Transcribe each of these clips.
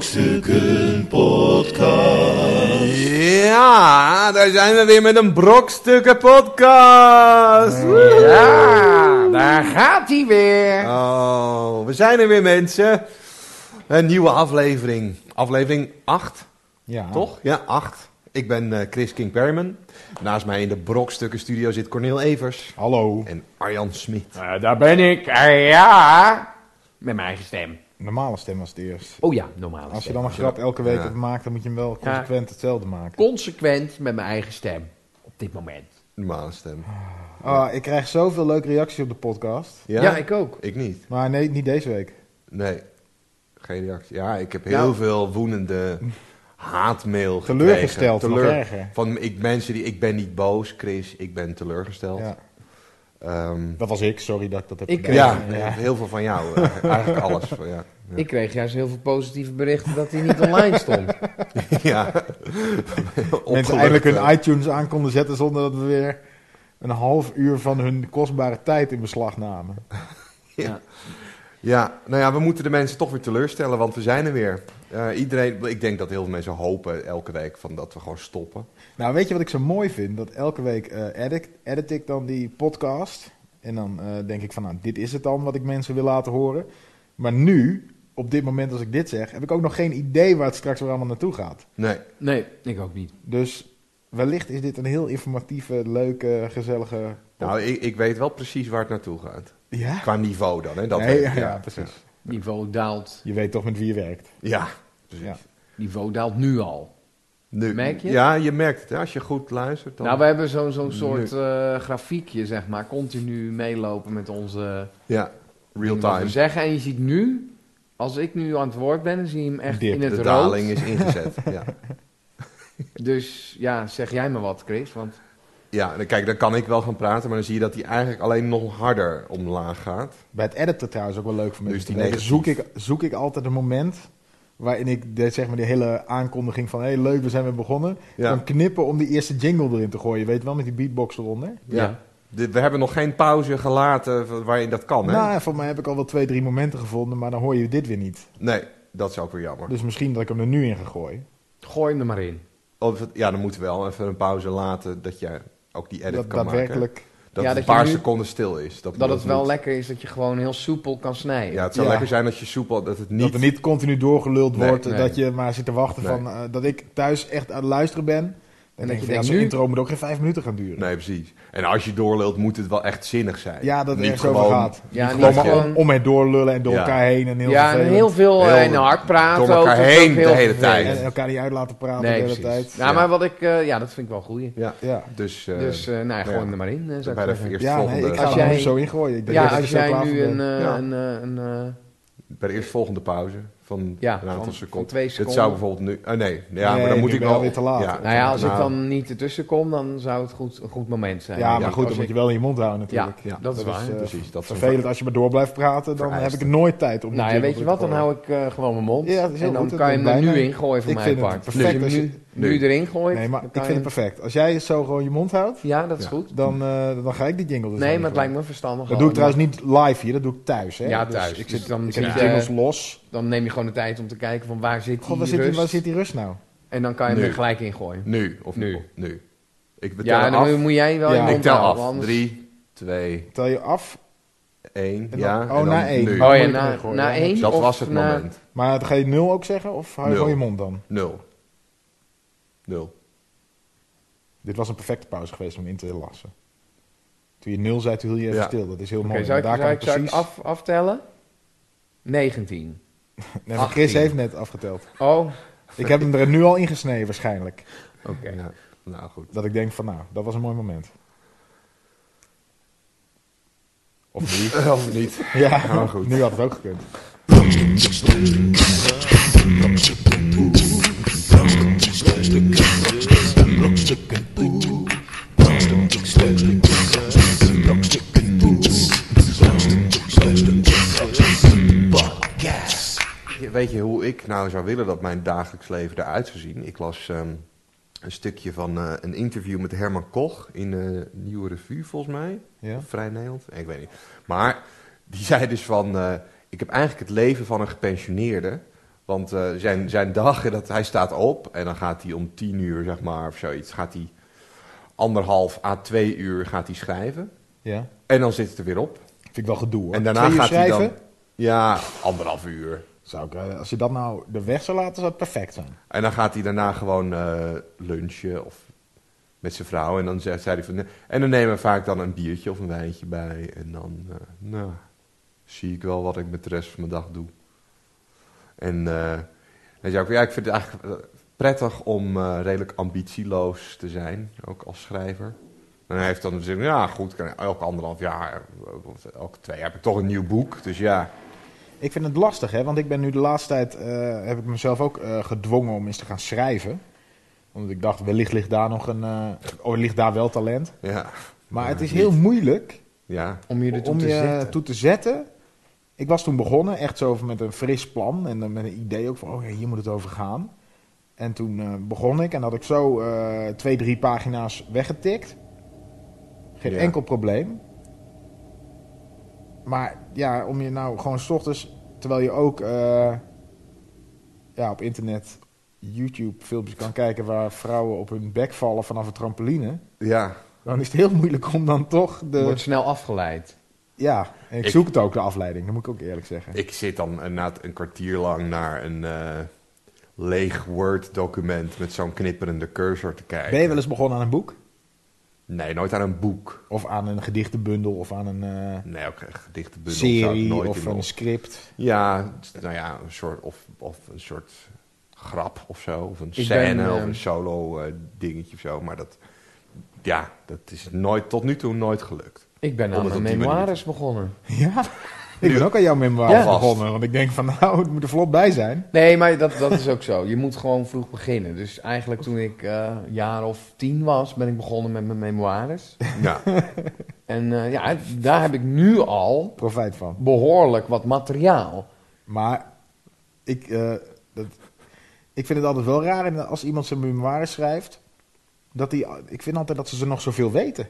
Brokstukken Podcast. Ja, daar zijn we weer met een Brokstukken podcast. Ja, Ah, daar gaat hij weer. Oh, we zijn er weer mensen. Een nieuwe aflevering. Aflevering 8, Ja. toch? Ja, 8. Ik ben eh, Chris King Perman. Naast mij in de Brokstukken studio zit Cornel Evers Hallo. en Arjan Smit. Eh, daar ben ik. Eh, ja. Met mijn eigen stem. Normale stem was het eerst. Oh ja, normaal. Als je dan een grap elke week Ja. hebt maakt, dan moet je hem wel consequent hetzelfde maken. Consequent met mijn eigen stem. Op dit moment. Normale stem. Ah, ik krijg zoveel leuke reacties op de podcast. Ja? ik ook. Ik niet. Maar nee, niet deze week. Nee. Geen reactie. Ja, ik heb heel Nou. veel woedende haatmail gekregen. Teleurgesteld, nog erger. van ik, mensen die... Ik ben niet boos, Chris. Ik ben teleurgesteld. Ja. Ehm, Dat was ik, sorry dat ik dat heb Ik- gedaan. ja, Ja. heel veel van jou. eh, Eigenlijk alles. van- Ja. Ik kreeg juist heel veel positieve berichten dat hij niet online stond. ja. eh. Mensen eindelijk hun iTunes aan konden zetten zonder dat we weer een half uur van hun kostbare tijd in beslag namen. Ja, nou ja, we moeten de mensen toch weer teleurstellen, want we zijn er weer. Eh, iedereen, ik denk dat heel veel mensen hopen elke week van dat we gewoon stoppen. Nou, weet je wat ik zo mooi vind? Dat elke week eh, edit, edit ik dan die podcast. En dan eh, denk ik van, nou, dit is het dan wat ik mensen wil laten horen. Maar nu, op dit moment als ik dit zeg, heb ik ook nog geen idee waar het straks weer allemaal naartoe gaat. Nee, Nee, ik ook niet. Dus wellicht is dit een heel informatieve, leuke, gezellige... nou, ik, ik weet wel precies waar het naartoe gaat. ja? Qua niveau dan, hè? Dat Nee, weet ja, ik, ja, precies. Niveau daalt. Je weet toch met wie je werkt. Ja, precies. Ja. Niveau daalt nu al. Nu. Merk je? Ja, je merkt het. Hè? Als je goed luistert, dan... Nou, we hebben zo'n zo'n soort eh, grafiekje, zeg maar. Continu meelopen met onze... Ja, real dingen wat we time. Zeggen. En je ziet nu, als ik nu aan het woord ben, dan zie je hem echt Dip. in De het rood. daling is ingezet. ja. Dus ja, zeg jij me wat, Chris. Want ja, dan- kijk, dan kan ik wel gaan praten, maar dan zie je dat hij eigenlijk alleen nog harder omlaag gaat. Bij het editen trouwens ook wel leuk voor Dus die mensen. te weten. negatief. zoek, ik, zoek ik altijd een moment waarin ik de, zeg maar, die hele aankondiging van... hé, hey, leuk, we zijn weer begonnen. Ja. Dan knippen om die eerste jingle erin te gooien. Je weet wel, met die beatbox eronder. Ja. Ja. De- we hebben nog geen pauze gelaten v- waarin dat kan, hè? Nou, voor mij heb ik al wel twee, drie momenten gevonden... maar dan hoor je dit weer niet. Nee, dat is ook weer jammer. Dus misschien dat ik hem er nu in ga gooien. gooi hem er maar in. Of het- ja, dan moeten we wel even een pauze laten dat jij ook die edit dat kan maken. daadwerkelijk... Dat Ja, het dat een paar je nu- seconden stil is. Dat, Dat het wel moet. lekker is dat je gewoon heel soepel kan snijden. Ja, het zou Ja. lekker zijn als je soepel, dat het Dat niet... er niet continu doorgeluld Nee, wordt. nee. Dat je maar zit te wachten Nee. van... eh, dat ik thuis echt aan het luisteren ben. Dan dat denk je je, denkt, ja, nu- zo'n intro moet ook geen vijf minuten gaan duren. Nee, precies. En als je doorlult, moet het wel echt zinnig zijn. Ja, dat het niet ergens over gewoon gaat. Ja, niet Gewoon maar gewoon- om, om en door lullen en door Ja. elkaar heen. En heel Ja, en vervelend. heel veel Heel eh, en hard praten. door elkaar ook, dat is heen ook de heel hele tijd. vervelend. En elkaar niet uit laten praten Nee, de hele precies. tijd. Nou, Ja. maar wat ik, eh, ja, dat vind ik wel een goeie. Ja, Ja, dus... eh, dus eh nou, ja, gooi ja. hem er maar in. eh, zou ik bij de zeggen. ja nee, eerstvolgende, ik ga Als hem er jij- nu zo ingooien. Ik denk ja, dat ik als er zo jij klaar nu voor ben. een, eh, Ja. een, eh, een, eh, bij de eerstvolgende pauze van Ja, een aantal van- seconden. van twee Dat seconden. zou bijvoorbeeld nu... Ah, nee, ja, Nee, maar dan moet nu ik ben je wel... alweer te laat. Ja. nou ja, als ik Nou. dan niet ertussen kom, dan zou het goed, een goed moment zijn. Ja, maar ja, goed, als dan moet ik- je wel in je mond houden ja, natuurlijk. Ja, dat is dat waar. is, eh, Precies, dat is een Vervelend als je maar door blijft praten, dan Vereist. heb ik nooit tijd om die nou ja, jingle weet je te wat, dan gooien. hou ik eh, gewoon mijn mond. Ja, dat is heel en dan goed, kan je dat hem er doe ik nu bijna. in gooien voor Ik mij vind het part. perfect Als je hem als nu, nu. nu erin gooit. Nee, maar dan ik kan vind je het perfect. Als jij zo gewoon je mond houdt, hem- Ja, dat is goed. dan, eh, dan ga ik die jingle dus Nee, niet maar het gooien. lijkt me verstandig. Dat doe ik trouwens niet live hier, dat doe ik thuis. Hè? Ja, Dus thuis. ik Dus zit, dan ik heb zit de je- jingles los. Dan neem je gewoon de tijd om te kijken van waar zit God, die waar zit, die, rust. waar zit die rust nou? En dan kan je hem Nu. er gelijk in gooien. Nu, of Nu. nu. nu. Ik betel Ja, dan af. moet- moet jij wel Ja. in je Ik mond tel houden, af. anders- Drie, twee, Tel je af, één. dan- Ja, oh, en dan na één. nu. Oh, Oh Moet ja, ik na, erin gooien, na ja. één Dat of was het na- moment. maar ga je nul ook zeggen of hou je Nul. gewoon je mond dan? Nul. Nul. Dit was een perfecte pauze geweest om in te lassen. Toen je nul zei, toen hield je even Ja. stil. Dat is heel Oké, mooi. zou ik, Daar zou kan ik, zou ik precies... af, aftellen? 19. Nee, maar Chris 18. heeft net afgeteld. Oh, Ik heb hem er nu al ingesneden waarschijnlijk. oké. Ja. Nou goed. Dat ik denk van nou, dat was een mooi moment. Of niet. Of niet. ja, Nou, goed. nu had het ook gekund. Je- Weet je hoe ik nou zou willen dat mijn dagelijks leven eruit zou zien? Ik las ehm, een stukje van eh, een interview met Herman Koch in eh Nieuwe Revue, volgens mij. Ja. Vrij Nederland. Ik weet niet. Maar die zei dus van... eh, ik heb eigenlijk het leven van een gepensioneerde... Want eh, zijn, zijn dagen, dat, hij staat op en dan gaat hij om tien uur, zeg maar, of zoiets, gaat hij anderhalf à twee uur gaat hij schrijven. Ja. En dan zit het er weer op. Vind ik wel gedoe hoor. En daarna Twee uur gaat hij dan- schrijven, Ja, anderhalf uur. Zou ik, eh, als je dat nou de weg zou laten, zou het perfect zijn. En dan gaat hij daarna gewoon eh, lunchen of met zijn vrouw. En dan zegt zei hij van... En dan nemen we vaak dan een biertje of een wijntje bij. En dan, eh, nou, zie ik wel wat ik met de rest van mijn dag doe. En eh dan zei ik, ja, ik vind het eigenlijk eh, prettig om eh, redelijk ambitieloos te zijn, ook als schrijver. En hij heeft dan gezegd, ja goed, kan- elke anderhalf jaar, eh, of elke twee jaar heb ik toch een nieuw boek. Dus ja, Ik vind het lastig, hè, want ik ben nu de laatste tijd, eh, heb ik mezelf ook eh, gedwongen om eens te gaan schrijven. Omdat ik dacht, wellicht ligt daar nog een, eh, oh, ligt daar wel talent. ja, Maar Ja, het is niet. heel moeilijk ja. Om je ertoe om te je zetten. toe te zetten. Ik was toen begonnen, echt zo met een fris plan en dan met een idee ook van, oh ja, hier moet het over gaan. En toen eh, begon ik en had ik zo eh, twee, drie pagina's weggetikt. Geen Ja. enkel probleem. Maar ja, om je nou gewoon 's ochtends, terwijl je ook eh, ja, op internet YouTube filmpjes kan kijken waar vrouwen op hun bek vallen vanaf een trampoline. ja. Dan is het heel moeilijk om dan toch de... Wordt snel afgeleid. Ja, en ik, Ik- zoek het ook, de afleiding. Dat moet ik ook eerlijk zeggen. Ik zit dan inderdaad een kwartier lang naar een eh, leeg Word-document met zo'n knipperende cursor te kijken. ben je wel eens begonnen aan een boek? Nee, nooit aan een boek. Of aan een gedichtenbundel? Of aan een eh, Nee, ook een gedichtenbundel zou ik serie? nooit Of in een op- script? Ja, t- nou ja, een soort, of, of een soort grap of zo. Of een ben, scène of ehm, een solo eh, dingetje of zo. Maar dat, ja, dat is nooit, tot nu toe nooit gelukt. Ik ben Om aan het mijn op die memoires begonnen. Ja, ik ben ook aan jouw memoir Ja. begonnen. Want ik denk van, nou, het moet er vlot bij zijn. Nee, maar dat, dat is ook zo. Je moet gewoon vroeg beginnen. Dus eigenlijk toen ik eh jaar of tien was, ben ik begonnen met mijn memoires. Ja, En eh, ja, daar heb ik nu al Profijt van. behoorlijk wat materiaal. Maar ik, eh, dat, ik vind het altijd wel raar inderdaad, als iemand zijn memoires schrijft. Dat die, ik vind altijd dat ze ze nog zoveel weten.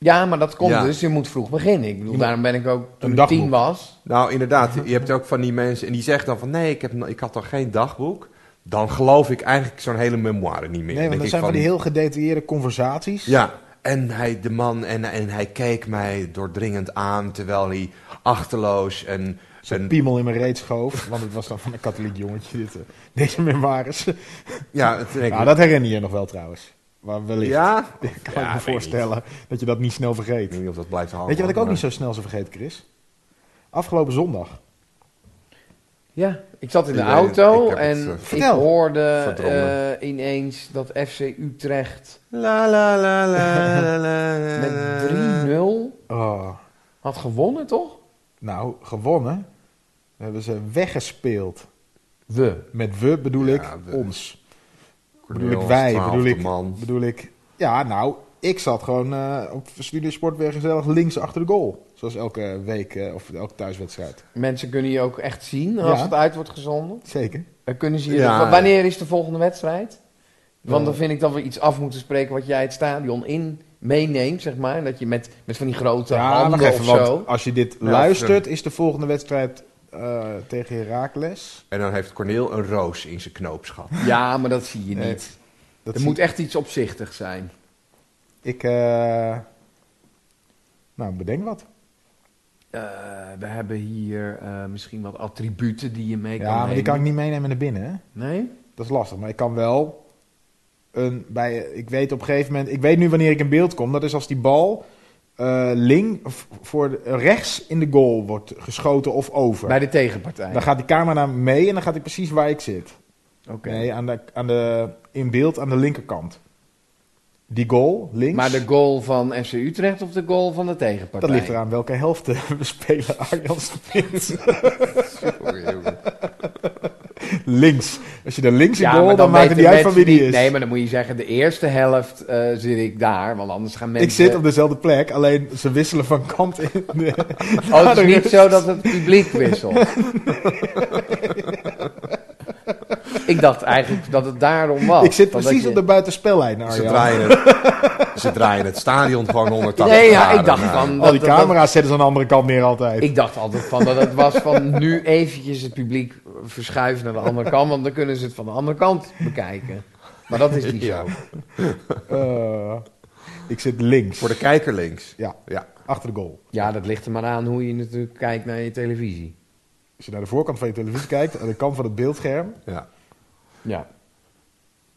Ja, maar dat komt Ja. dus. Je moet vroeg beginnen. Ik Je bedoel, moet- daarom ben ik ook toen Een ik dagboek. tien was. nou inderdaad, je hebt ook van die mensen... en die zeggen dan van, nee, ik, heb, no- ik had dan geen dagboek... Dan geloof ik eigenlijk zo'n hele memoire niet meer. Nee, want Denk dat ik zijn van die heel gedetailleerde conversaties. Ja, en hij, de man, en, en hij keek mij doordringend aan, terwijl hij achterloos en... Zo'n en- piemel in mijn reet schoof. Want het was dan van een katholiek jongetje. Dit, eh, deze memoires. ja, toen denk ik- Nou, dat herinner je nog wel trouwens. Maar wellicht. ja? Ik kan Ja, weet niet. ik me eh. voorstellen dat je dat niet snel Ik vergeet. weet niet of dat blijft hangen. Weet je wat ik ook maar- niet zo snel zo vergeet, Chris? Afgelopen zondag. Ja, ik zat in de Ik weet het, auto ik heb het, en eh, ik Vertel. hoorde Verdrongen. eh, ineens dat FC Utrecht La la la la la la met la. 3-0 Oh, had gewonnen, toch? nou, gewonnen. We hebben ze weggespeeld. We. Met we bedoel Ja, ik we. ons. Cornelis, bedoel ik wij, twaalfde bedoel ik- Man. Bedoel ik, ja, nou, ik zat gewoon eh, op Studio Sport weer gezellig links achter de goal. Zoals elke week eh, of elke thuiswedstrijd. Mensen kunnen je ook echt zien als Ja. het uit wordt gezonden. Zeker. Dan kunnen ze je Ja. w- wanneer is de volgende wedstrijd? Want Ja. dan vind ik dat we iets af moeten spreken wat jij het stadion in meeneemt, zeg maar. Dat je met, met van die grote handen wacht of want zo. als je dit Ja, luistert, is de volgende wedstrijd eh, tegen Herakles. En dan heeft Corneel een roos in zijn knoopschap. Ja, maar dat zie je Nee, niet. Dat er zie- moet echt iets opzichtig zijn. Ik, eh, nou, bedenk wat. Eh, we hebben hier eh, misschien wat attributen die je mee ja, kan maar die nemen. kan ik niet meenemen naar binnen, hè? Nee? Dat is lastig, maar ik kan wel een bij. Ik weet op een gegeven moment. Ik weet nu wanneer ik in beeld kom. Dat is als die bal eh ling of voor de- rechts in de goal wordt geschoten of over. Bij de tegenpartij. Dan gaat die camera mee en dan gaat hij precies waar ik zit. Oké. Nee, aan de, aan de, in beeld aan de linkerkant. Die goal, links. Maar de goal van FC Utrecht of de goal van de tegenpartij? Dat ligt eraan welke helft eh, we spelen. Arjan Spits. Sorry, jongen. links. Als je de links in Ja, goal, maar dan, dan maakt weten het niet uit van mensen wie die is. niet- Nee, maar dan moet je zeggen, de eerste helft eh, zit ik daar, want anders gaan mensen... Ik zit op dezelfde plek, alleen ze wisselen van kant in. Oh, het is niet zo dat het publiek wisselt. ik dacht eigenlijk dat het daarom was. ik zit want precies dat op je- de buitenspellijn, Ze Arjan. draaien, het, ze draaien het stadion gewoon 180 Nee, ja, graden ik dacht na. van... Al Oh, die dat- dat- camera's zetten ze aan de andere kant neer altijd. Ik dacht altijd van dat het was van nu eventjes het publiek verschuiven naar de andere kant, want dan kunnen ze het van de andere kant bekijken. Maar dat is niet Ja. zo. Eh, ik zit links. Voor de kijker links. Ja, Ja. achter de goal. Ja, dat ligt er maar aan hoe je natuurlijk kijkt naar je televisie. Als je naar de voorkant van je televisie kijkt, aan de kant van het beeldscherm. ja. Ja.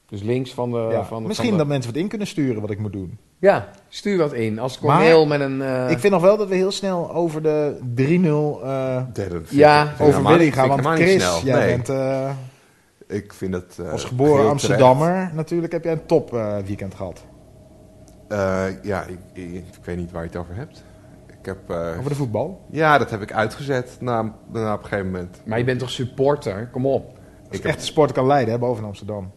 Dus links van de... ja, van de misschien van de- dat mensen wat in kunnen sturen wat ik moet doen. Ja, stuur wat in. Als Maar- Corneel met een... eh, ik vind nog wel dat we heel snel over de 3-0 eh, Derde, vind Ja, ik- vind ik helemaal overwinning niet- gaan. vind ik helemaal Want niet Chris, snel. jij Nee, bent eh, ik vind het... eh, als geboren heel Amsterdammer natuurlijk, heb jij een top eh, weekend gehad. terecht. Eh, ja, ik, ik, ik weet niet waar je het over hebt. Ik heb... eh, Over de voetbal. ja, dat heb ik uitgezet na, na op een gegeven moment. Maar je bent toch supporter? Kom op. Als Ik echt de sport kan leiden, hè, boven Amsterdam.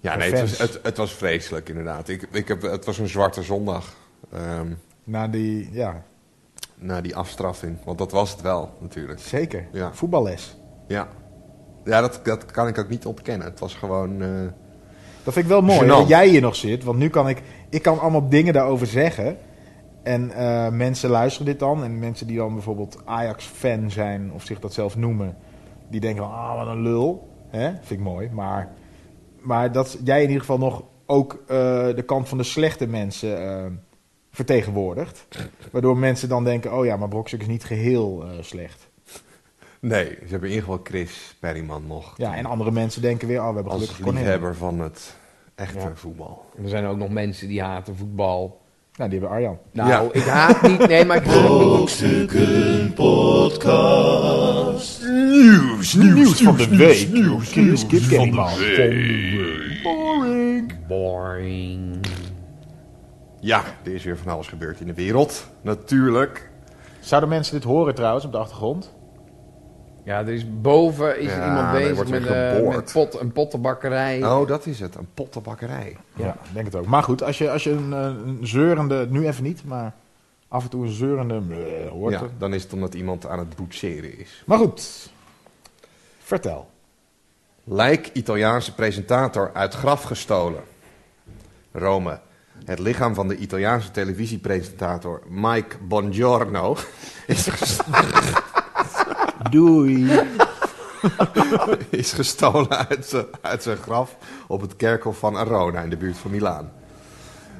Ja, Voor nee, het was, fans. het, het was vreselijk inderdaad. Ik, ik heb, het was een zwarte zondag ehm, Na die, ja, na die afstraffing. Want dat was het wel, natuurlijk. zeker. Ja. Voetballes. Ja, ja dat, dat kan ik ook niet ontkennen. Het was gewoon... eh, Dat vind ik wel mooi Gênant. dat jij hier nog zit. Want nu kan ik, ik kan allemaal dingen daarover zeggen. En eh, mensen luisteren dit dan. En mensen die dan bijvoorbeeld Ajax-fan zijn of zich dat zelf noemen. Die denken van, ah, wat een lul. Hè? Vind ik mooi. Maar, maar dat jij in ieder geval nog ook eh, de kant van de slechte mensen eh, vertegenwoordigt. Waardoor mensen dan denken, oh ja, maar Brokstuk is niet geheel eh, slecht. nee, ze hebben in ieder geval Chris Perryman nog. Ja, en andere mensen denken weer, oh, we hebben als gelukkig Cornel. liefhebber van het echte Ja. voetbal. Er zijn ook nog mensen die haten voetbal. Nou, die hebben Arjan. Nou, Ja. ik haat niet. Nee, maar ik haat niet. Brokstukken Podcast. Nieuws, nieuws van de week. Nieuws van de Boring. Ja, er is weer van alles gebeurd in de wereld. Natuurlijk. Zouden mensen dit horen trouwens op de achtergrond? Ja, er is boven is er Ja, iemand er bezig wordt met, weer eh, geboord. met pot, een pottenbakkerij. Oh, dat is het. Een pottenbakkerij. Ja, ik denk het ook. Maar goed, als je, als je een, eh, een zeurende, nu even niet, maar af en toe een zeurende bleh hoort. Ja, er. dan is het omdat iemand aan het boetseren is. Maar goed, vertel. Lijk Italiaanse presentator uit graf gestolen. Rome. Het lichaam van de Italiaanse televisiepresentator Mike Bongiorno is gestolen. Doei. is gestolen uit zijn, uit zijn graf op het kerkhof van Arona in de buurt van Milaan.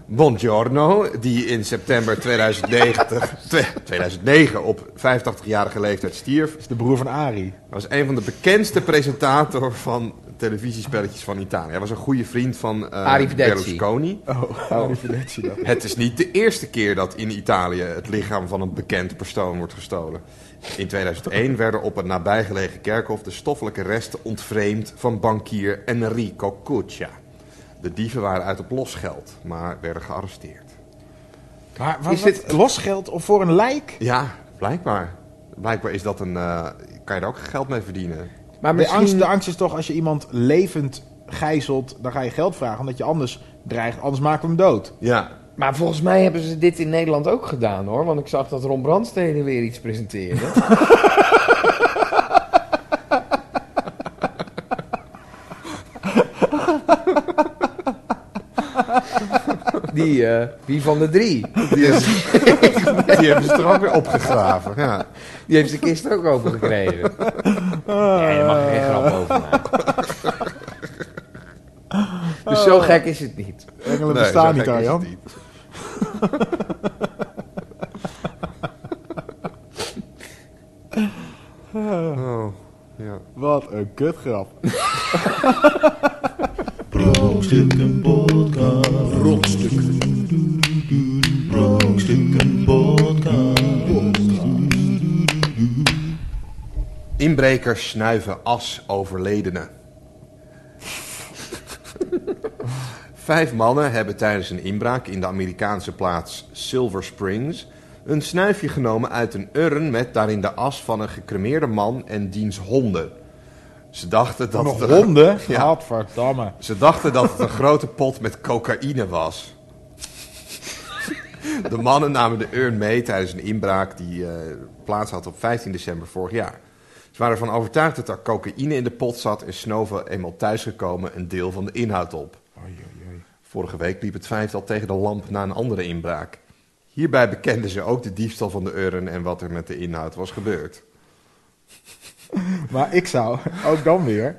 Bongiorno, die in september 2090, twe- 2009 op 85-jarige leeftijd stierf, is de broer van Ari. was een van de bekendste presentatoren van televisiespelletjes van Italië. Hij was een goede vriend van eh, Arrivederci. Berlusconi. Oh, Ari verdeelt je dat. Het is niet de eerste keer dat in Italië het lichaam van een bekend persoon wordt gestolen. In 2001 werden op een nabijgelegen kerkhof de stoffelijke resten ontvreemd van bankier Enrico Cuccia. De dieven waren uit op losgeld, maar werden gearresteerd. Maar was Is dit dit- losgeld of voor een lijk? Ja, blijkbaar. Blijkbaar is dat een. eh, kan je daar ook geld mee verdienen? maar De misschien... angst, de angst is toch, als je iemand levend gijzelt, dan ga je geld vragen. Omdat je anders dreigt, anders maken we hem dood. Ja. Maar volgens mij hebben ze dit in Nederland ook gedaan hoor. Want ik zag dat Ron Brandstede weer iets presenteerde. die, eh, die van de drie. Die hebben, ze- die hebben ze er ook weer opgegraven. Ja. Die heeft de kist ook opengekregen. Nee, daar mag je geen grap over maken. Dus zo gek is het niet. Engelen Nee, bestaan zo niet, gek is het Arjan. niet. Oh, ja. Wat een kutgrap. Brokstukken Podcast. Brokstukken. Brokstukken Podcast. Inbrekers snuiven as overledenen. Vijf mannen hebben tijdens een inbraak in de Amerikaanse plaats Silver Springs een snuifje genomen uit een urn met daarin de as van een gecremeerde man en diens honden. Ze dachten dat nog het een- honden? Ja. Gadverdamme. Ze dachten dat het een grote pot met cocaïne was. De mannen namen de urn mee tijdens een inbraak die eh, plaats had op 15 december vorig jaar. Ze waren ervan overtuigd dat er cocaïne in de pot zat en snoven eenmaal thuisgekomen een deel van de inhoud op. Vorige week liep het vijftal tegen de lamp na een andere inbraak. Hierbij bekenden ze ook de diefstal van de urn en wat er met de inhoud was gebeurd. Maar ik zou ook dan weer...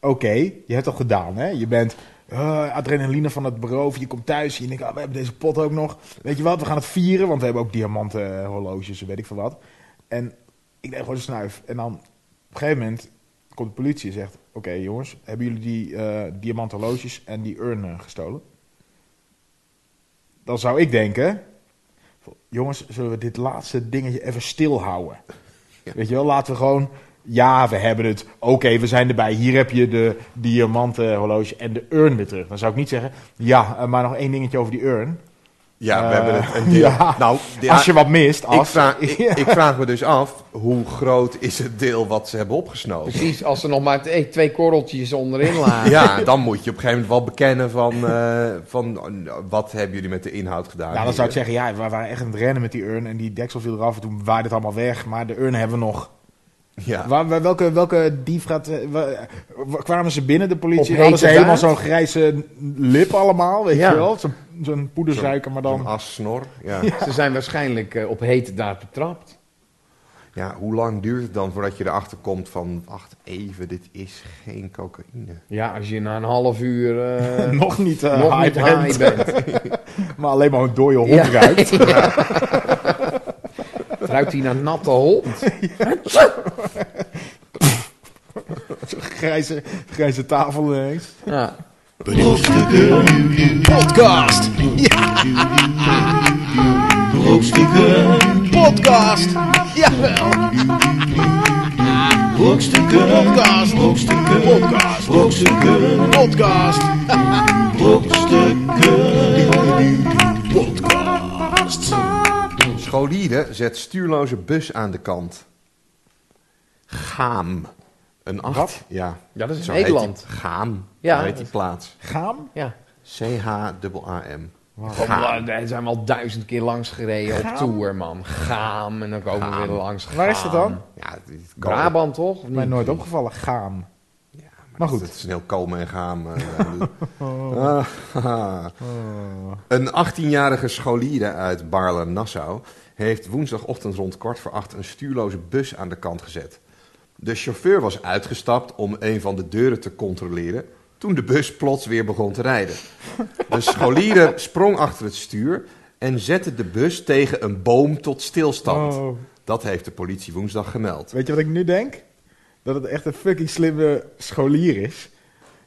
Oké, je hebt het al gedaan, hè? Je bent eh, adrenaline van het bureau. Je komt thuis en je denkt, ah, we hebben deze pot ook nog. Weet je wat, we gaan het vieren, want we hebben ook diamanten eh, horloges en weet ik veel wat. En ik deed gewoon de snuif. En dan op een gegeven moment komt de politie en zegt... Oké jongens, hebben jullie die eh diamanten horloges en die urn eh, gestolen? Dan zou ik denken... Jongens, zullen we dit laatste dingetje even stilhouden? Weet je wel, laten we gewoon... Ja, we hebben het. Oké, we zijn erbij. Hier heb je de diamanten horloge en de urn weer terug. Dan zou ik niet zeggen... Ja, eh, maar nog één dingetje over die urn. Ja, we Eh, hebben het. Een deel, ja. Nou, de- Als je wat mist, als... ik, vraag, ik, Ja. ik vraag me dus af, hoe groot is het deel wat ze hebben opgesnoven? Precies, als er nog maar twee- twee korreltjes onderin lagen. Ja, dan moet je op een gegeven moment wel bekennen van, eh, van eh, wat hebben jullie met de inhoud gedaan. Nou, dan zou ik hier? zeggen, ja, we waren echt aan het rennen met die urn en die deksel viel eraf en toen waaide het allemaal weg, maar de urn hebben we nog. Ja. Waar, waar- welke, welke dief gaat... eh, wa- wa- kwamen ze binnen, de Op politie, hete hadden ze helemaal daad? zo'n grijze lip allemaal, weet Ja. je wel? Zo'n zo'n poedersuiker, maar Dan dan... as, snor. Ja. Ze zijn waarschijnlijk eh, op hete daad betrapt. ja, hoe lang duurt het dan voordat je erachter komt van, wacht even, dit is geen cocaïne. Ja, als je na een half uur eh, nog niet, eh nog high niet bent, high bent. maar alleen maar een dode hond Ja. ruikt. Ruikt hij naar natte hond? Zo'n grijze, grijze tafel ineens. Ja. Brokstukken. Podcast! Brokstukken. Podcast! Brokstukken. Podcast. Brokstukken. Podcast. Brokstukken. Podcast! Brokstukken. Podcast. Scholieren zet stuurloze bus aan de kant. Gaam. Een acht. Wat? Ja. Ja, dat is heet Nederland. die- Gaam. Ja, Ja. heet dat die is- plaats. Gaam? ja. C-H-A-M. Kom, Gaam. maar, Daar zijn we al duizend keer langs gereden op tour, man. Gaam. En dan komen Gaam. we weer langs. Gaam. Waar is het dan? Ja, het is Komen. Brabant, toch? Of niet? Mij nooit opgevallen, gaam. Ja, maar, Maar goed. goed. Het is een heel komen en gaam. eh, eh, Ah, haha. Oh. Een 18-jarige scholier uit Baarle-Nassau heeft woensdagochtend rond kwart voor acht een stuurloze bus aan de kant gezet. De chauffeur was uitgestapt om een van de deuren te controleren toen de bus plots weer begon te rijden. De scholier sprong achter het stuur en zette de bus tegen een boom tot stilstand. Oh. Dat heeft de politie woensdag gemeld. Weet je wat ik nu denk? Dat het echt een fucking slimme scholier is.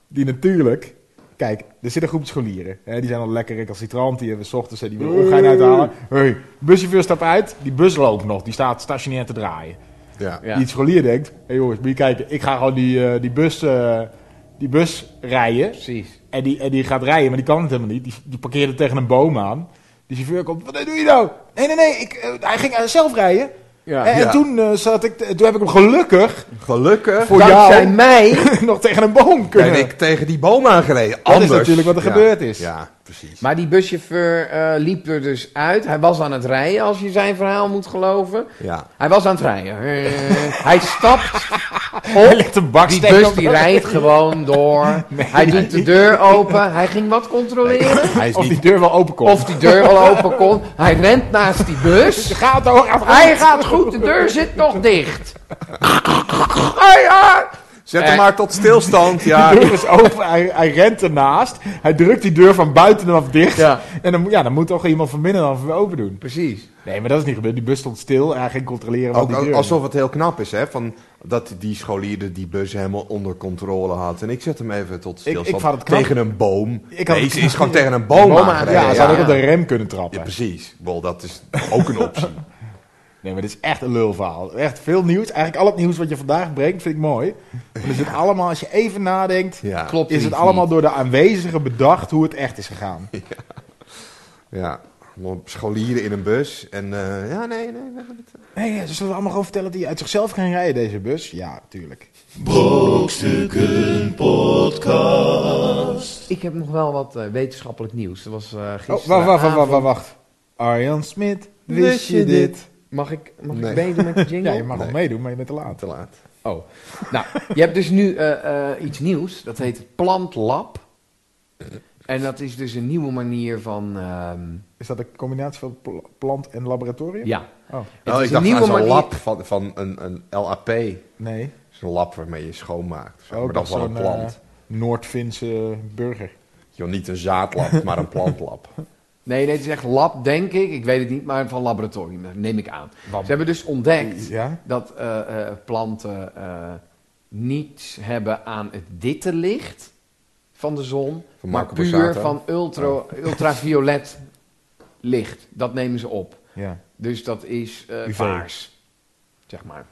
Die natuurlijk... Kijk, er zit een groep scholieren. Hè, die zijn al lekker recalcitrant. Die hebben 's ochtends hè, die willen ongein uithalen. Hey, buschauffeur stapt uit. Die bus loopt nog. Die staat stationair te draaien. Ja. Ja. Die scholier denkt... Hé hey jongens, moet je kijken. Ik ga gewoon die, eh, die, bus, eh, die bus rijden. Precies. En die, en die gaat rijden, maar die kan het helemaal niet. Die, die parkeerde tegen een boom aan. Die chauffeur komt, wat doe je nou? Nee, nee, nee, ik, eh, hij ging eh, zelf rijden. Ja. en en Ja. toen, eh, zat ik, toen heb ik hem gelukkig Gelukkig voor Dankzij jou mij. nog tegen een boom kunnen. ben ik tegen die boom aangereden. Dat is Anders. natuurlijk wat er Ja. gebeurd is. Ja, precies. Maar die buschauffeur eh, liep er dus uit. Hij was aan het rijden, als je zijn verhaal moet geloven. Ja. Hij was aan het rijden. Eh, hij stapt Hij op. legt een baksteen Die bus op- die rijdt gewoon door. hij doet de deur open. Hij ging wat controleren. Hij is Of die niet... deur wel open komt. dus Of die deur al open kon. Hij rent naast die bus. gaat door, gaat Hij gaat goed, de deur zit nog dicht. Ah ja! Zet hem Eh. maar tot stilstand. Ja, De deur is open, hij, hij rent ernaast. Hij drukt die deur van buitenaf dicht. Ja. En dan, moet- ja, dan moet toch iemand van binnen dan weer open doen. Precies. Nee, maar dat is niet gebeurd. Die bus stond stil en hij ging controleren wat ook die deur... ook alsof het heel knap is, hè? Van dat die scholier die bus helemaal onder controle had. En ik zet hem even tot stilstand. ik vond het knap. Tegen een boom. Ik had nee, het ze knap. is gewoon tegen een boom, Boom aan- aangereden. Ja, Ja, hij zou ja. ook op de rem kunnen trappen. Ja, precies. Wel, dat is ook een optie. Nee, maar dit is echt een lulverhaal. Echt veel nieuws. Eigenlijk al het nieuws wat je vandaag brengt, vind ik mooi. Want er zit allemaal, als je even nadenkt, Ja. Klopt is niet, het allemaal door de aanwezigen bedacht hoe het echt is gegaan. Ja. Allemaal Scholieren in een bus. En eh, ja, nee, nee. we hebben het- Nee, ja, ze zullen allemaal gewoon vertellen dat hij uit zichzelf ging rijden, deze bus. Ja, tuurlijk. Brokstukken podcast. Ik heb nog wel wat eh, wetenschappelijk nieuws. Dat was eh gisteren. Oh, wacht, wacht, wacht, wacht, wacht, wacht. Arjan Smit, wist je dit? Mag ik, mag Nee. ik meedoen met de jingle? Ja, je mag wel meedoen, maar je bent te laat. te laat. Oh, nou, je hebt dus nu eh, eh, iets nieuws. Dat heet het Plantlab. En dat is dus een nieuwe manier van... ehm, Is dat een combinatie van pl- plant en laboratorium? ja. Oh, Het Oh, is ik dacht een aan nieuwe zo'n manier- lab van, van een, een LAP. nee. Zo'n lab waarmee je schoonmaakt. Zo, Ook maar Oh, dat is wel een zo'n, plant. eh, Noord-Finse burger. Joh, niet een zaadlab, maar een plantlab. Nee, nee, het is echt lab, denk ik. Ik weet het niet, maar van laboratorium, dat neem ik aan. Ze hebben dus ontdekt Ja? dat eh, eh, planten eh, niets hebben aan het witte licht van de zon, Van maar Marco puur Borsato? Oh. van ultra, ultraviolet licht. Dat nemen ze op. Ja. Dus dat is eh, UV. paars, zeg maar.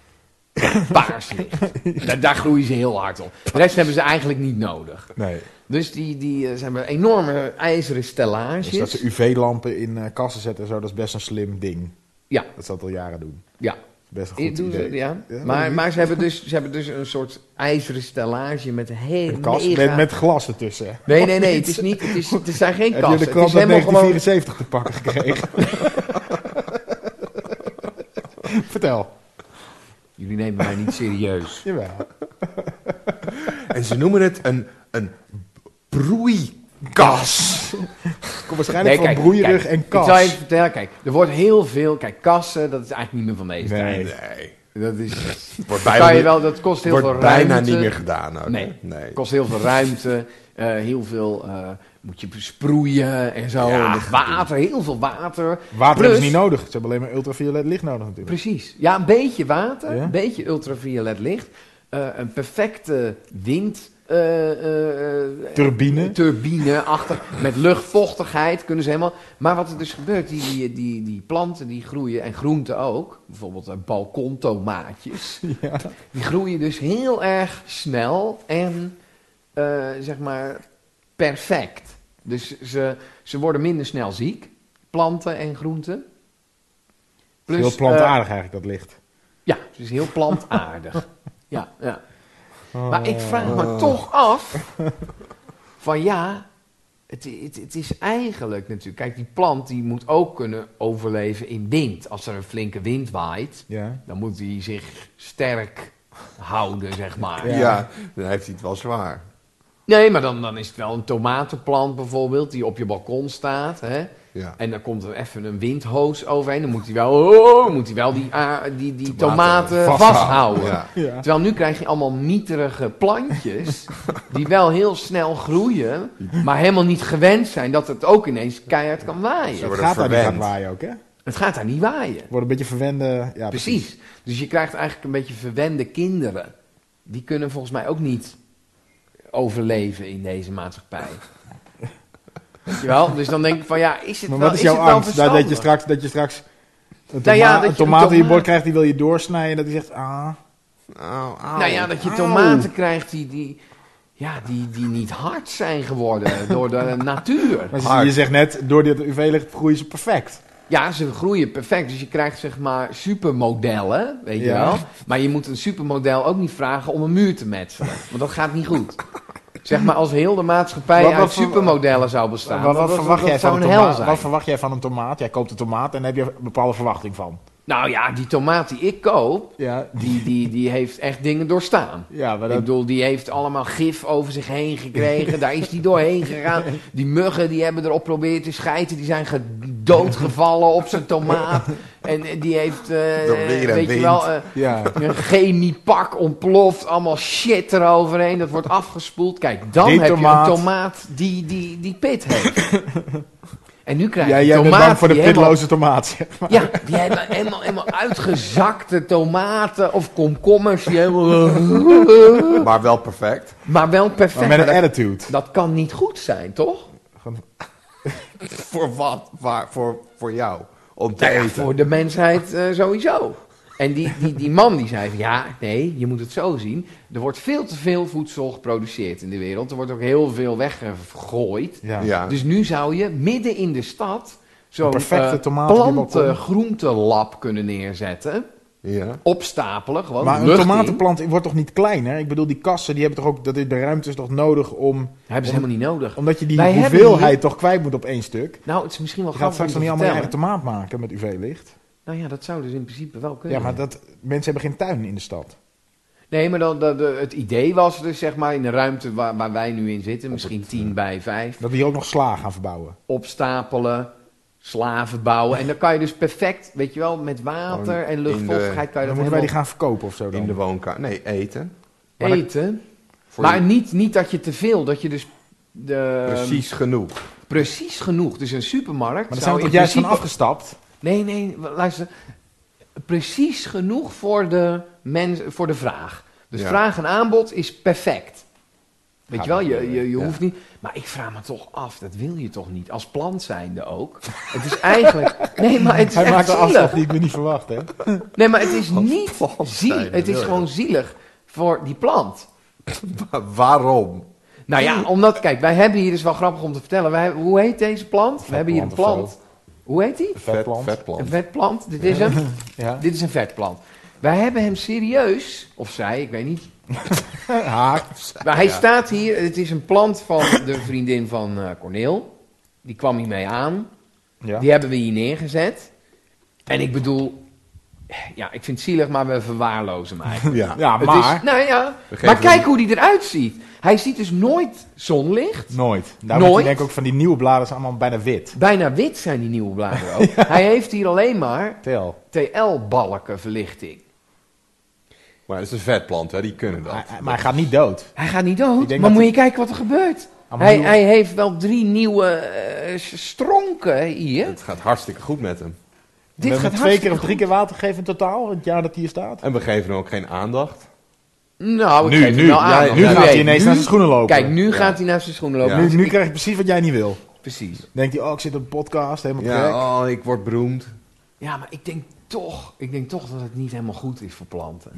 Paars licht. Daar, daar groeien ze heel hard op. De rest hebben ze eigenlijk niet nodig. Nee. Dus die, die eh, zijn maar enorme ijzeren stellages. Dus dat ze UV-lampen in eh, kassen zetten en zo, dat is best een slim ding. Ja, Dat ze dat al jaren doen. ja. Dat is best een Ik goed doe ze, idee. ja. Ja, maar dat- maar ze, hebben dus, ze hebben dus een soort ijzeren stellage met een hele Een kast met, met glas ertussen. Nee, nee, nee. Het, is niet, het, is, het zijn geen Heb je kasten. de Het is krant uit helemaal gewoon... 1974 te pakken gekregen? Vertel. Jullie nemen mij niet serieus. Jawel. en ze noemen het een, een broeikas. Kom waarschijnlijk kijk, van broeierig kijk, en kas. Ik zal je even vertellen. Kijk, er wordt heel veel... Kijk, kassen, dat is eigenlijk niet meer van deze Nee. Nee. tijd. Dat is... Wordt bijna, Kan je niet- wel, dat kost heel wordt veel ruimte. bijna niet meer gedaan. Ook, hè? Nee. nee. Het kost heel veel ruimte, eh, heel veel eh, moet je besproeien en zo. Ja, En het water, heel veel water. Water hebben ze Plus- niet nodig. Ze hebben alleen maar ultraviolet licht nodig natuurlijk. Precies. Ja, een beetje water, Ja? een beetje ultraviolet licht. eh, een perfecte wind. eh, eh, eh, Turbine. Turbine achter, met luchtvochtigheid kunnen ze helemaal. Maar wat er dus gebeurt, die, die, die, die planten die groeien en groenten ook, bijvoorbeeld eh, balkontomaatjes, Ja. die groeien dus heel erg snel en eh, zeg maar perfect. Dus ze, ze worden minder snel ziek, planten en groenten. Plus, Heel eh, plantaardig eigenlijk dat licht. ja, het Dus is heel plantaardig. Oh. ja, ja. Maar ik vraag me toch af: van ja, het, het, het is eigenlijk natuurlijk. Kijk, die plant die moet ook kunnen overleven in wind. Als er een flinke wind waait, Ja. dan moet hij zich sterk houden, zeg maar. Ja. Ja. dan heeft hij het wel zwaar. Nee, maar dan, dan is het wel een tomatenplant bijvoorbeeld, die op je balkon staat. Hè? Ja. En dan komt er even een windhoos overheen. Dan moet hij wel, oh, moet hij wel die, a- die, die tomaten, vasthouden. Ja. Ja. Terwijl nu krijg je allemaal mieterige plantjes. die wel heel snel groeien. maar helemaal niet gewend zijn dat het ook ineens keihard kan Ze waaien. Het worden gaat daar niet aan verwend. waaien ook, hè? Het gaat daar niet waaien. Wordt een beetje verwende... Ja, Precies. Dus je krijgt eigenlijk een beetje verwende kinderen. Die kunnen volgens mij ook niet overleven in deze maatschappij. Weet je wel? Dus dan denk ik van ja, is het Maar wel wat is jouw het wel angst? Nou, Dat, dat, je verstandig? straks, dat je straks een, Nou ja, toma- dat je een een tomaat in je tomaat- bord krijgt, die wil je doorsnijden. En dat hij zegt, ah... Au, au. Nou ja, dat je tomaten krijgt die, die, ja, die, die niet hard zijn geworden door de natuur. Maar ze- Hard. je zegt net, door dit UV-licht groeien ze perfect. Ja, ze groeien perfect. Dus je krijgt zeg maar supermodellen, weet je Ja. wel. Maar je moet een supermodel ook niet vragen om een muur te metselen. Want dat gaat niet goed. Zeg maar, als heel de maatschappij Wat- wat uit voor- supermodellen zou bestaan, wat, dan- wat dat- verwacht dat jij van zou een een hel tomaat? zijn. Wat verwacht jij van een tomaat? Jij koopt een tomaat en daar heb je een bepaalde verwachting van. Nou ja, die tomaat die ik koop, Ja, die, die, die heeft echt dingen doorstaan. ja maar Ik dat... bedoel, die heeft allemaal gif over zich heen gekregen. Daar is die doorheen gegaan. Die muggen die hebben erop proberen te schijten. Die zijn ge- doodgevallen op zijn tomaat. En eh, die heeft, eh, Door weer en weet je wind. wel, eh, Ja. een chemiepak ontploft. Allemaal shit eroverheen. Dat wordt afgespoeld. Kijk, dan Die heb tomaat. je een tomaat die, die, die pit heeft. En nu krijg je Jij, een jij bent tomaat bang voor de die helemaal- pitloze tomaat, zeg maar. ja, die hebben helemaal, helemaal uitgezakte tomaten of komkommers. Die helemaal... Maar wel perfect. Maar wel perfect. Maar met een attitude. Dat kan niet goed zijn, toch? Voor wat? Waar, voor, voor jou. Om te Nou ja, eten. voor de mensheid eh, sowieso. En die, die, die man die zei van ja, nee, je moet het zo zien. Er wordt veel te veel voedsel geproduceerd in de wereld. Er wordt ook heel veel weggegooid. Ja. Ja. Dus nu zou je midden in de stad zo'n Een perfecte eh, tomaat op je planten, balkon. groentelab kunnen neerzetten. ja. Opstapelen, gewoon Maar een lucht in. tomatenplant wordt toch niet klein, hè? Ik bedoel, die kassen, die hebben toch ook... Dat is de ruimte is toch nodig om... hebben ze helemaal niet nodig. Omdat je die Wij hebben hoeveelheid hier- toch kwijt moet op één stuk. Nou, het is misschien wel Je gaat grappig om straks te nog niet allemaal je eigen vertellen. tomaat maken met UV-licht. Nou ja, dat zou dus in principe wel kunnen. Ja, maar dat, mensen hebben geen tuin in de stad. Nee, maar dan, dat, eh, het idee was dus, zeg maar, in de ruimte waar, waar wij nu in zitten, misschien 10 bij 5, Dat we hier ook nog sla gaan verbouwen. opstapelen, slaven bouwen. En dan kan je dus perfect, weet je wel, met water Gewoon en in luchtvochtigheid kan je Dan dat moeten wij die helemaal gaan verkopen of zo dan. In de woonkamer. Nee, eten. maar dan- eten. Voor Maar je- niet, niet dat je te veel, dat je dus... De, precies genoeg. precies genoeg. Dus een supermarkt maar daar zijn zou we toch in juist van principe- afgestapt? Nee, nee, w- luister. Precies genoeg voor de, mens, voor de vraag. Dus Ja. vraag en aanbod is perfect. Weet Gaat je wel, niet je, gebeuren. je, je Ja. hoeft niet. Maar ik vraag me toch af, dat wil je toch niet? Als plant zijnde ook. Het is eigenlijk. Nee, maar het is Hij echt maakt een zielig. afslag die ik me niet verwacht, hè? Nee, maar het is niet plant zielig. zijnde Het wil is je gewoon zielig voor die plant. Wa- Waarom? Nou ja, omdat, kijk, wij hebben hier dus wel grappig om te vertellen. Wij, hebben- hoe heet deze plant? We hebben hier een Vetplant of plant. Hoe heet die? Vetplant. Een vetplant. vetplant. Dit is hem. Ja. Dit is een vetplant. Wij hebben hem serieus, of zij, ik weet niet. Haak. Maar hij staat hier, het is een plant van de vriendin van eh Corneel. Die kwam hier mee aan. Ja. Die hebben we hier neergezet. En ik bedoel, ja, ik vind het zielig, maar we verwaarlozen hem eigenlijk. Ja. ja, Het maar... is- nou ja, We geven maar kijk hem- hoe die eruit ziet. Hij ziet dus nooit zonlicht. Nooit. Daarom Nooit. denk ik ook van die nieuwe bladeren zijn allemaal bijna wit. Bijna wit zijn die nieuwe bladeren ook. Hij heeft hier alleen maar Tel. TL-balken verlichting. Maar het is een vetplant, hè? die kunnen dat. Hij- hij- Maar hij gaat niet dood. Hij gaat niet Ik dood, denk maar dat moet hij- je kijken wat er gebeurt. Allemaal Hij, nieuwe- hij heeft wel drie nieuwe eh, s- stronken hier. Het gaat hartstikke goed met hem. we Dit hebben gaat hem twee keer hartstikke of drie keer water gegeven in totaal, het jaar dat hij hier staat. En we geven hem ook geen aandacht. goed. Nou, ik Nu, geef hem nu. wel aan. Ja, Nu Ja, gaat hij weet- ineens nu- naar zijn schoenen lopen. Kijk, nu Ja. gaat hij naar zijn schoenen lopen. Ja. nu, Dus nu ik- krijg je precies wat jij niet wil. Precies. Denkt hij, oh, ik zit op een podcast, helemaal Ja, gek. oh, ik word beroemd. Ja, maar ik denk toch, ik denk toch dat het niet helemaal goed is voor planten.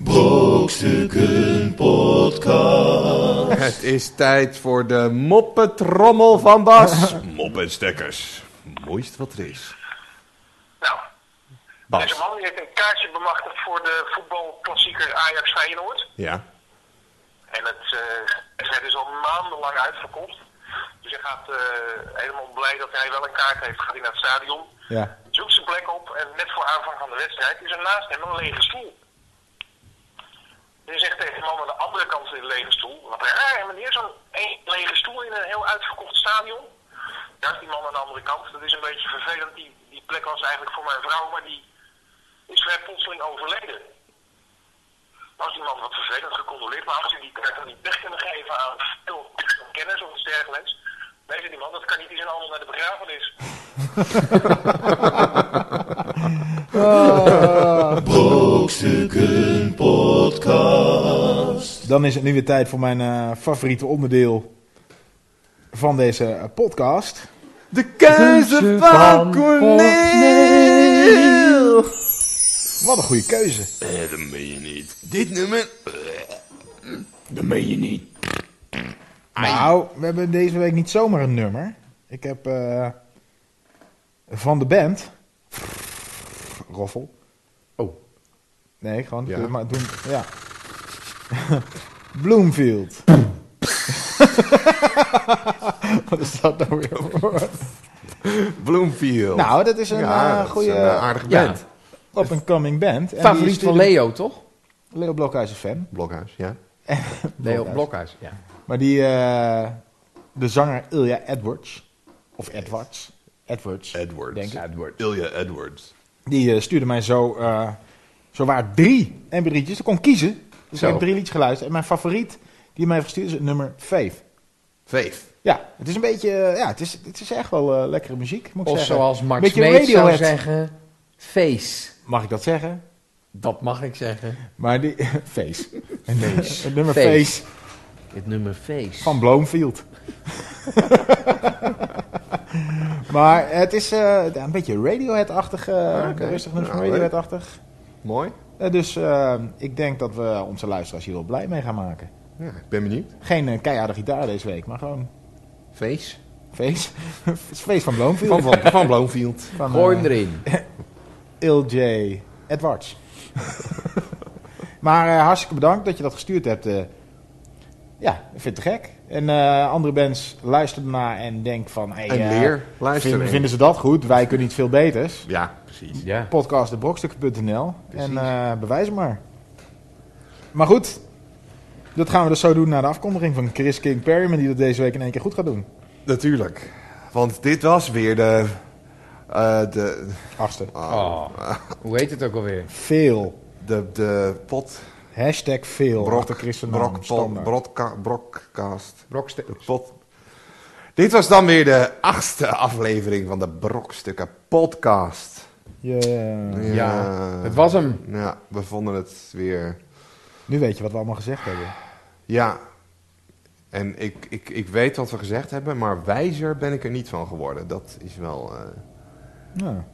Brokstukken podcast. Het is tijd voor de moppetrommel van Bas. Moppenstekkers. Mooist wat er is. Nou, deze Bas. man die heeft een kaartje bemachtigd voor de voetbalklassieker Ajax Feyenoord. Ja. En het, eh, het zijn dus al maandenlang uitverkocht. Dus hij gaat eh, helemaal blij dat hij wel een kaart heeft. Gaat hij naar het stadion, Ja. zoekt zijn plek op en net voor aanvang van de wedstrijd is er naast hem een lege stoel. Dus hij zegt tegen de man aan de andere kant van de lege stoel, wat raar meneer, zo'n één lege stoel in een heel uitverkocht stadion. Daar is die man aan de andere kant, dat is een beetje vervelend, die, die plek was eigenlijk voor mijn vrouw, maar die is vrij plotseling overleden. Als die man wat vervelend gecondoleerd, maar als hij die kaart dan niet weg kunnen geven aan veel kennis of iets dergelijks, nee, zei die man, dat kan niet, die zijn allemaal naar de begrafenis. Brokstukken podcast. Dan is het nu weer tijd voor mijn eh, favoriete onderdeel van deze eh, podcast. De keuze van Corneel. Wat een goede keuze. Eh, dat meen je niet. Dit nummer. Eh, Dat meen je niet. Nou, we hebben deze week niet zomaar een nummer. Ik heb eh, van de band... Roffel. Oh. Nee, gewoon... Ja. Maar doen, ja. Bloomfield. Wat is dat nou weer voor? Bloomfield. Nou, dat is een ja, eh, dat is goede een, eh, aardige Ja. band. up-and-coming band. En die Favoriet stuurde- van Leo, toch? Leo Blokhuis is fan. Blokhuis, ja. Leo Blokhuis, ja. Maar die, eh, de zanger Ilja Edwards, of Edwards, Edwards, Edwards. Denk ik. Ilja Edwards. die eh, stuurde mij zo, eh zo waar drie MP3'tjes. Ik kon kiezen, dus Zo. ik heb drie liedjes geluisterd. En mijn favoriet die mij heeft gestuurd is het nummer 5. Veef. Ja, het is een beetje, eh, ja, het is, het is echt wel eh, lekkere muziek, moet ik Of zeggen. zoals Mark Beetje Smeet zou Radiohead. zeggen, face. Mag ik dat zeggen? Dat mag ik zeggen. Maar die, Face. Het nummer Face. face. Het nummer face. Van Bloomfield. maar het is eh, een beetje Radiohead-achtig. eh, oké. Rustig nummer van Nou, leuk. Radiohead-achtig. Mooi. Eh, dus eh, ik denk dat we onze luisteraars hier wel blij mee gaan maken. Ja, ik ben benieuwd. Geen eh, keiharde gitaar deze week, maar gewoon Face. feest. feest van Bloomfield. Van, van, van Bloomfield. Van, Gooi hem eh, erin. LJ Edwards. maar eh, hartstikke bedankt dat je dat gestuurd hebt. eh. ja, ik vind het te gek. En eh, andere bands, luister ernaar en denk van... Hey, En eh, leer. Luister Vinden, erin. vinden ze dat goed? Wij kunnen iets veel beters. Ja, precies. Ja. Podcast de brokstukken.nl En Precies. eh, bewijs het maar. Maar goed, Dat gaan we dus zo doen na de afkondiging van Chris King Perryman, die dat deze week in één keer goed gaat doen. Natuurlijk. Want dit was weer de... eh, de, Achtste. Ah. Oh. Hoe heet het ook alweer? Veel. de, de pot... Hashtag veel. Brok, achter Chris' zijn naam, brok, standaard. broadca- broadcast. Brokste- De pot. Dit was dan weer de achtste aflevering van de Brokstukken podcast. Eh, Ja. Ja, het was hem. Ja, we vonden het weer... Nu weet je wat we allemaal gezegd hebben. Ja. En ik, ik, ik weet wat we gezegd hebben, maar wijzer ben ik er niet van geworden. Dat is wel eh, Ja.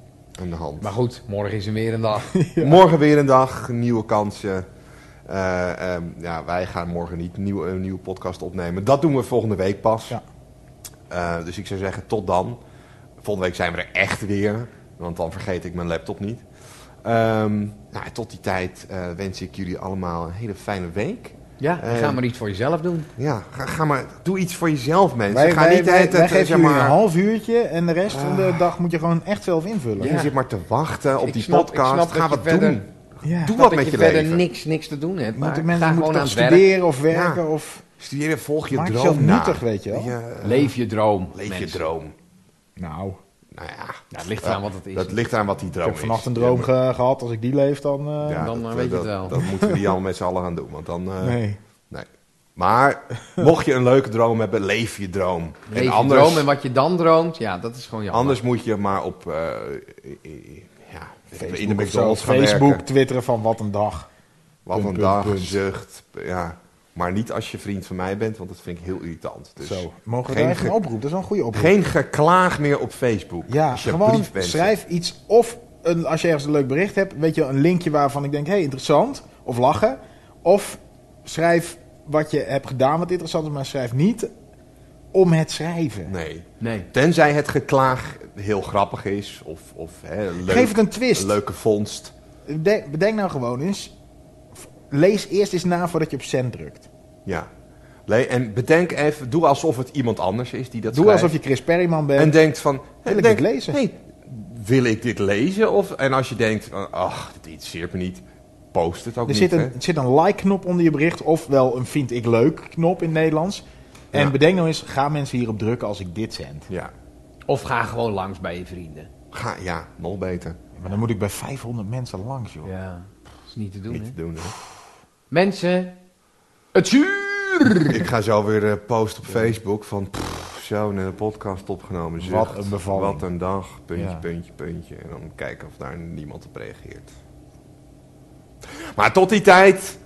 aan de hand. Maar goed, morgen is er weer een dag. Morgen weer een dag, nieuwe kansen. Eh, ehm, ja, wij gaan morgen niet nieuw, een nieuwe podcast opnemen. Dat doen we volgende week pas. Ja. Eh, dus ik zou zeggen, tot dan. Volgende week zijn we er echt weer. Want dan vergeet ik mijn laptop niet. Ehm, nou, tot die tijd eh, wens ik jullie allemaal een hele fijne week. Ja, Eh. ga maar iets voor jezelf doen. Ja, ga, ga maar. Doe iets voor jezelf, mensen. Wij, ga wij, niet de hele wij, wij tijd, eh, geven zeg jullie maar, een half uurtje en de rest van de dag moet je gewoon echt zelf invullen. Dus Je Ja. zit maar te wachten op Ik die snap- ik snap podcast. Ga dat je wat verder- doen. Ja. Doe Snap wat dat met je je, verder leven. niks, niks te doen hebt. Maar Moeten ga mensen moeten gewoon aan toch het werk. studeren of werken of... Studeer en volg je Maak droom jezelf na. nuttig, weet je wel. eh, Leef je droom. leef je mensen. droom. Nou, Nou ja, Ja, het ligt eraan wat het is. dat ligt aan wat die ik droom heb vannacht is. een droom Ja, maar- ge- gehad. Als ik die leef, dan... eh, ja, Dan, eh, dat- weet je dat- het wel. Dat moeten we die allemaal met z'n allen gaan doen. Want dan, eh, Nee. nee. Maar mocht je een leuke droom hebben, leef je droom. Leef en je anders, droom en wat je dan droomt, ja, dat is gewoon jammer. anders moet je maar op eh, eh, eh, ja, in de Facebook, of zo. McDonald's gaan Facebook werken. twitteren van wat een dag. Wat Punt, een punt, dag, punt. zucht. Ja. Maar niet als je vriend van mij bent, want dat vind ik heel irritant. Dus Zo, mogen we geen daar even ge- een oproep? Dat is wel een goede oproep. Geen geklaag meer op Facebook. ja, Alsjeblieft, gewoon mensen. schrijf iets of een, als je ergens een leuk bericht hebt, weet je wel, een linkje waarvan ik denk, hey, interessant, of lachen. Of schrijf wat je hebt gedaan wat interessant is, maar schrijf niet om het schrijven. Nee. Nee. Tenzij het geklaag heel grappig is of, of hè, leuk, Geef het een twist. leuke vondst. Bede- bedenk nou gewoon eens, f- lees eerst eens na voordat je op send drukt. Ja. Le- En bedenk even, doe alsof het iemand anders is die dat Doe schrijft. alsof je Chris Perryman bent. En denkt van... Wil ik denk, dit lezen? Hey, wil ik dit lezen? Of, en als je denkt, van, ach, dit interesseert me niet. Post het ook er niet. zit een, hè. er zit een like-knop onder je bericht, ofwel een vind ik leuk knop in het Nederlands. En Ja. bedenk nou eens, gaan mensen hierop drukken als ik dit zend? Ja. Of ga gewoon langs bij je vrienden. Ga, ja, nog beter. Maar dan moet ik bij 500 mensen langs, joh. Ja, dat is niet te doen, niet hè. te doen. Hè. Mensen, het zuur! Ik ga zo weer eh, posten op Facebook van... pff, zo, net een podcast opgenomen. Zucht, Wat een bevalling. Wat een dag. Puntje, Ja. puntje, puntje. En dan kijken of daar niemand op reageert. Maar tot die tijd...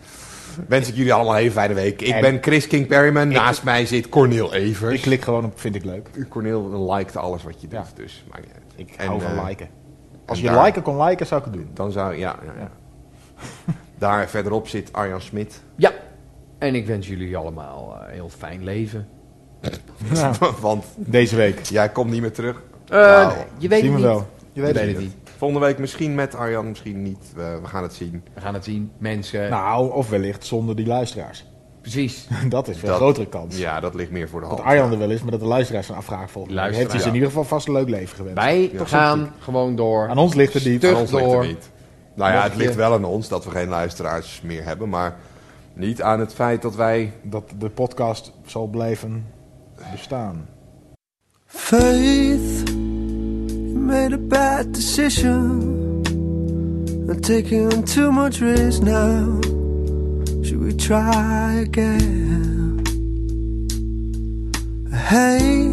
Wens ik jullie allemaal een hele fijne week. Ik En- ben Chris King Perryman. Naast mij zit Cornel Evers. Ik klik gewoon op vind ik leuk. Cornel liked alles wat je doet. Ja. Dus maakt niet uit. Ik En, hou van eh, liken. Als en je daar- liken kon liken, zou ik het doen. Dan zou... Ja, ja, ja. Ja. daar verderop zit Arjan Smit. Ja, en ik wens jullie allemaal eh, een heel fijn leven. Nou, Want deze week. jij komt niet meer terug. Eh, Wauw. Je weet Zien het we niet. wel. Je weet weet het het niet. Volgende week misschien met Arjan, misschien niet. We, we gaan het zien. We gaan het zien, mensen. Nou, of wellicht zonder die luisteraars. Precies. Dat is Dat- wel een grotere kans. Ja, dat ligt meer voor de hand. Dat Arjan er wel is, maar dat de luisteraars zijn afvraag volgen. Luisteraars, Heeft hij ze in ja. ieder geval vast een leuk leven gewenst. Wij Ja. gaan gewoon door. Aan ons ligt het niet. Stug. Aan ons ligt het door. niet. Nou ja, Mocht het ligt je- wel aan ons dat we geen luisteraars meer hebben, maar niet aan het feit dat wij Dat de podcast zal blijven bestaan. Faith you made a bad decision. I'm taking too much risk now. Should we try again? Hey,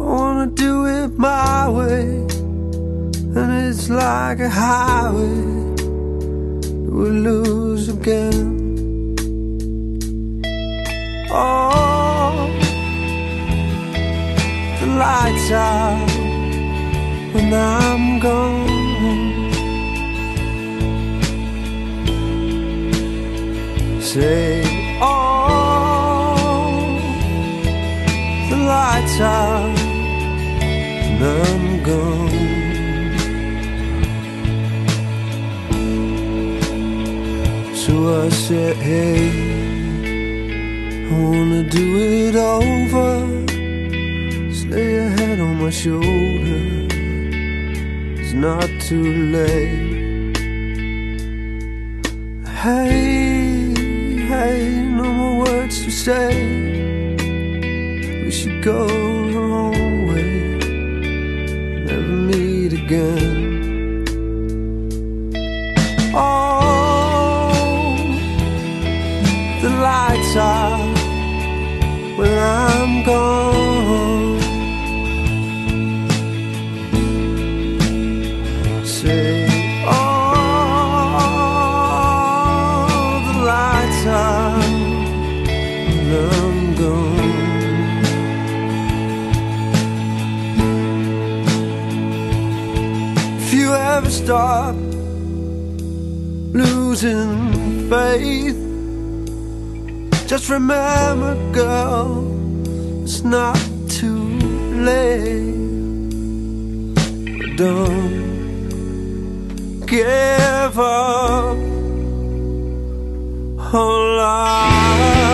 I wanna do it my way, and it's like a highway. We lose again. Oh the lights out when I'm gone. Say, oh, the lights out when I'm gone. So I said, hey, I wanna do it over. Just lay your head on my shoulder. It's not too late. Hey, had no more words to say. We should go our own way, never meet again. Oh, the lights are when I'm gone. Say, oh, the lights are when I'm gone. If you ever stop losing faith, just remember, girl, it's not too late. Don't give up on life.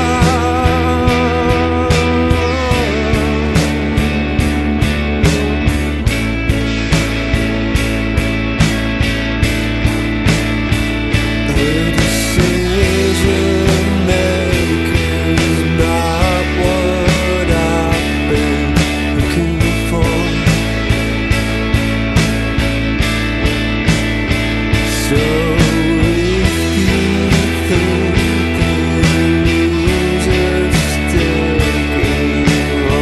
So if you think the music still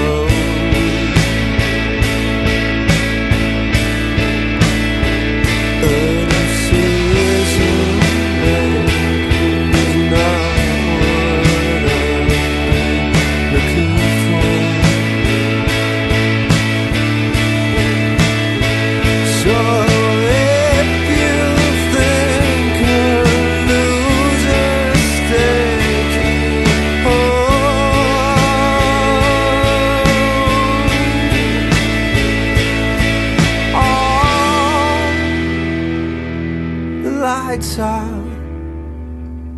Looking for. So if you think a loser's taking all the lights out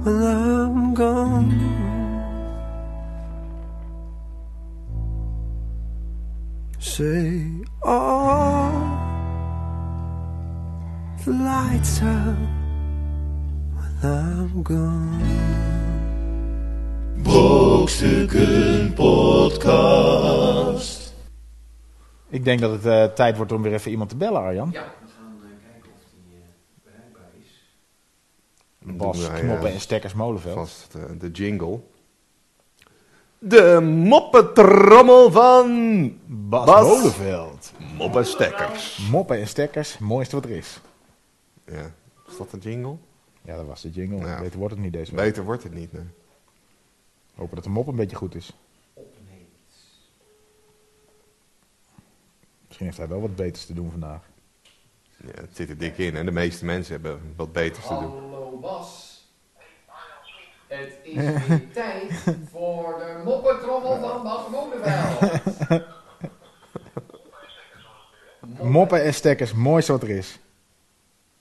when I'm gone. Say, oh, the lights out when I'm gone. Brokstukken Podcast. Ik denk dat het eh, tijd wordt om weer even iemand te bellen, Arjan. Ja, we gaan eh, kijken of die bereikbaar is. Bas, Nou ja, Knoppen en Stekkers Molenveld. Vast eh, de jingle. De moppetrommel van Bas, Bas. Molenveld. Moppestekkers. Moppen en Stekkers, mooiste wat er is. Ja, is dat een jingle? Ja, dat was de jingle. Ja. Beter wordt het niet deze week. Beter wordt het niet, nee. Hopen dat de mop een beetje goed is. Misschien heeft hij wel wat beters te doen vandaag. Ja, het zit er dik in en de meeste mensen hebben wat beters te doen. Hallo Bas. Het is weer tijd voor de moppetrommel van Bas Molenveld. Moppen en Stekkers, mooiste wat er is.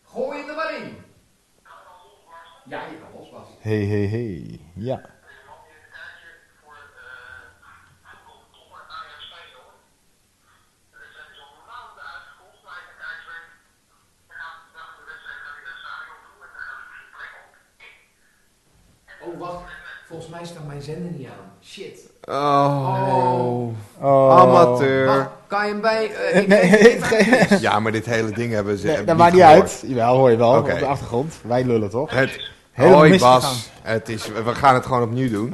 Gooi het er maar in. Ja, je kan los, Bas. Hey, hey, hey. Ja. Oh, wacht. Volgens mij staat mijn zender niet aan. Shit. Oh, Oh. amateur. Wacht, kan je hem bij... eh, ik Nee, weet niet het waar hij is. Ja, maar dit hele ding hebben ze. Nee, hebben dat maakt niet gehoord. uit. Jawel, hoor je wel. Oké. Op de achtergrond. Wij lullen toch? Het, Helemaal hoi misgegaan. Bas, het is, we gaan het gewoon opnieuw doen.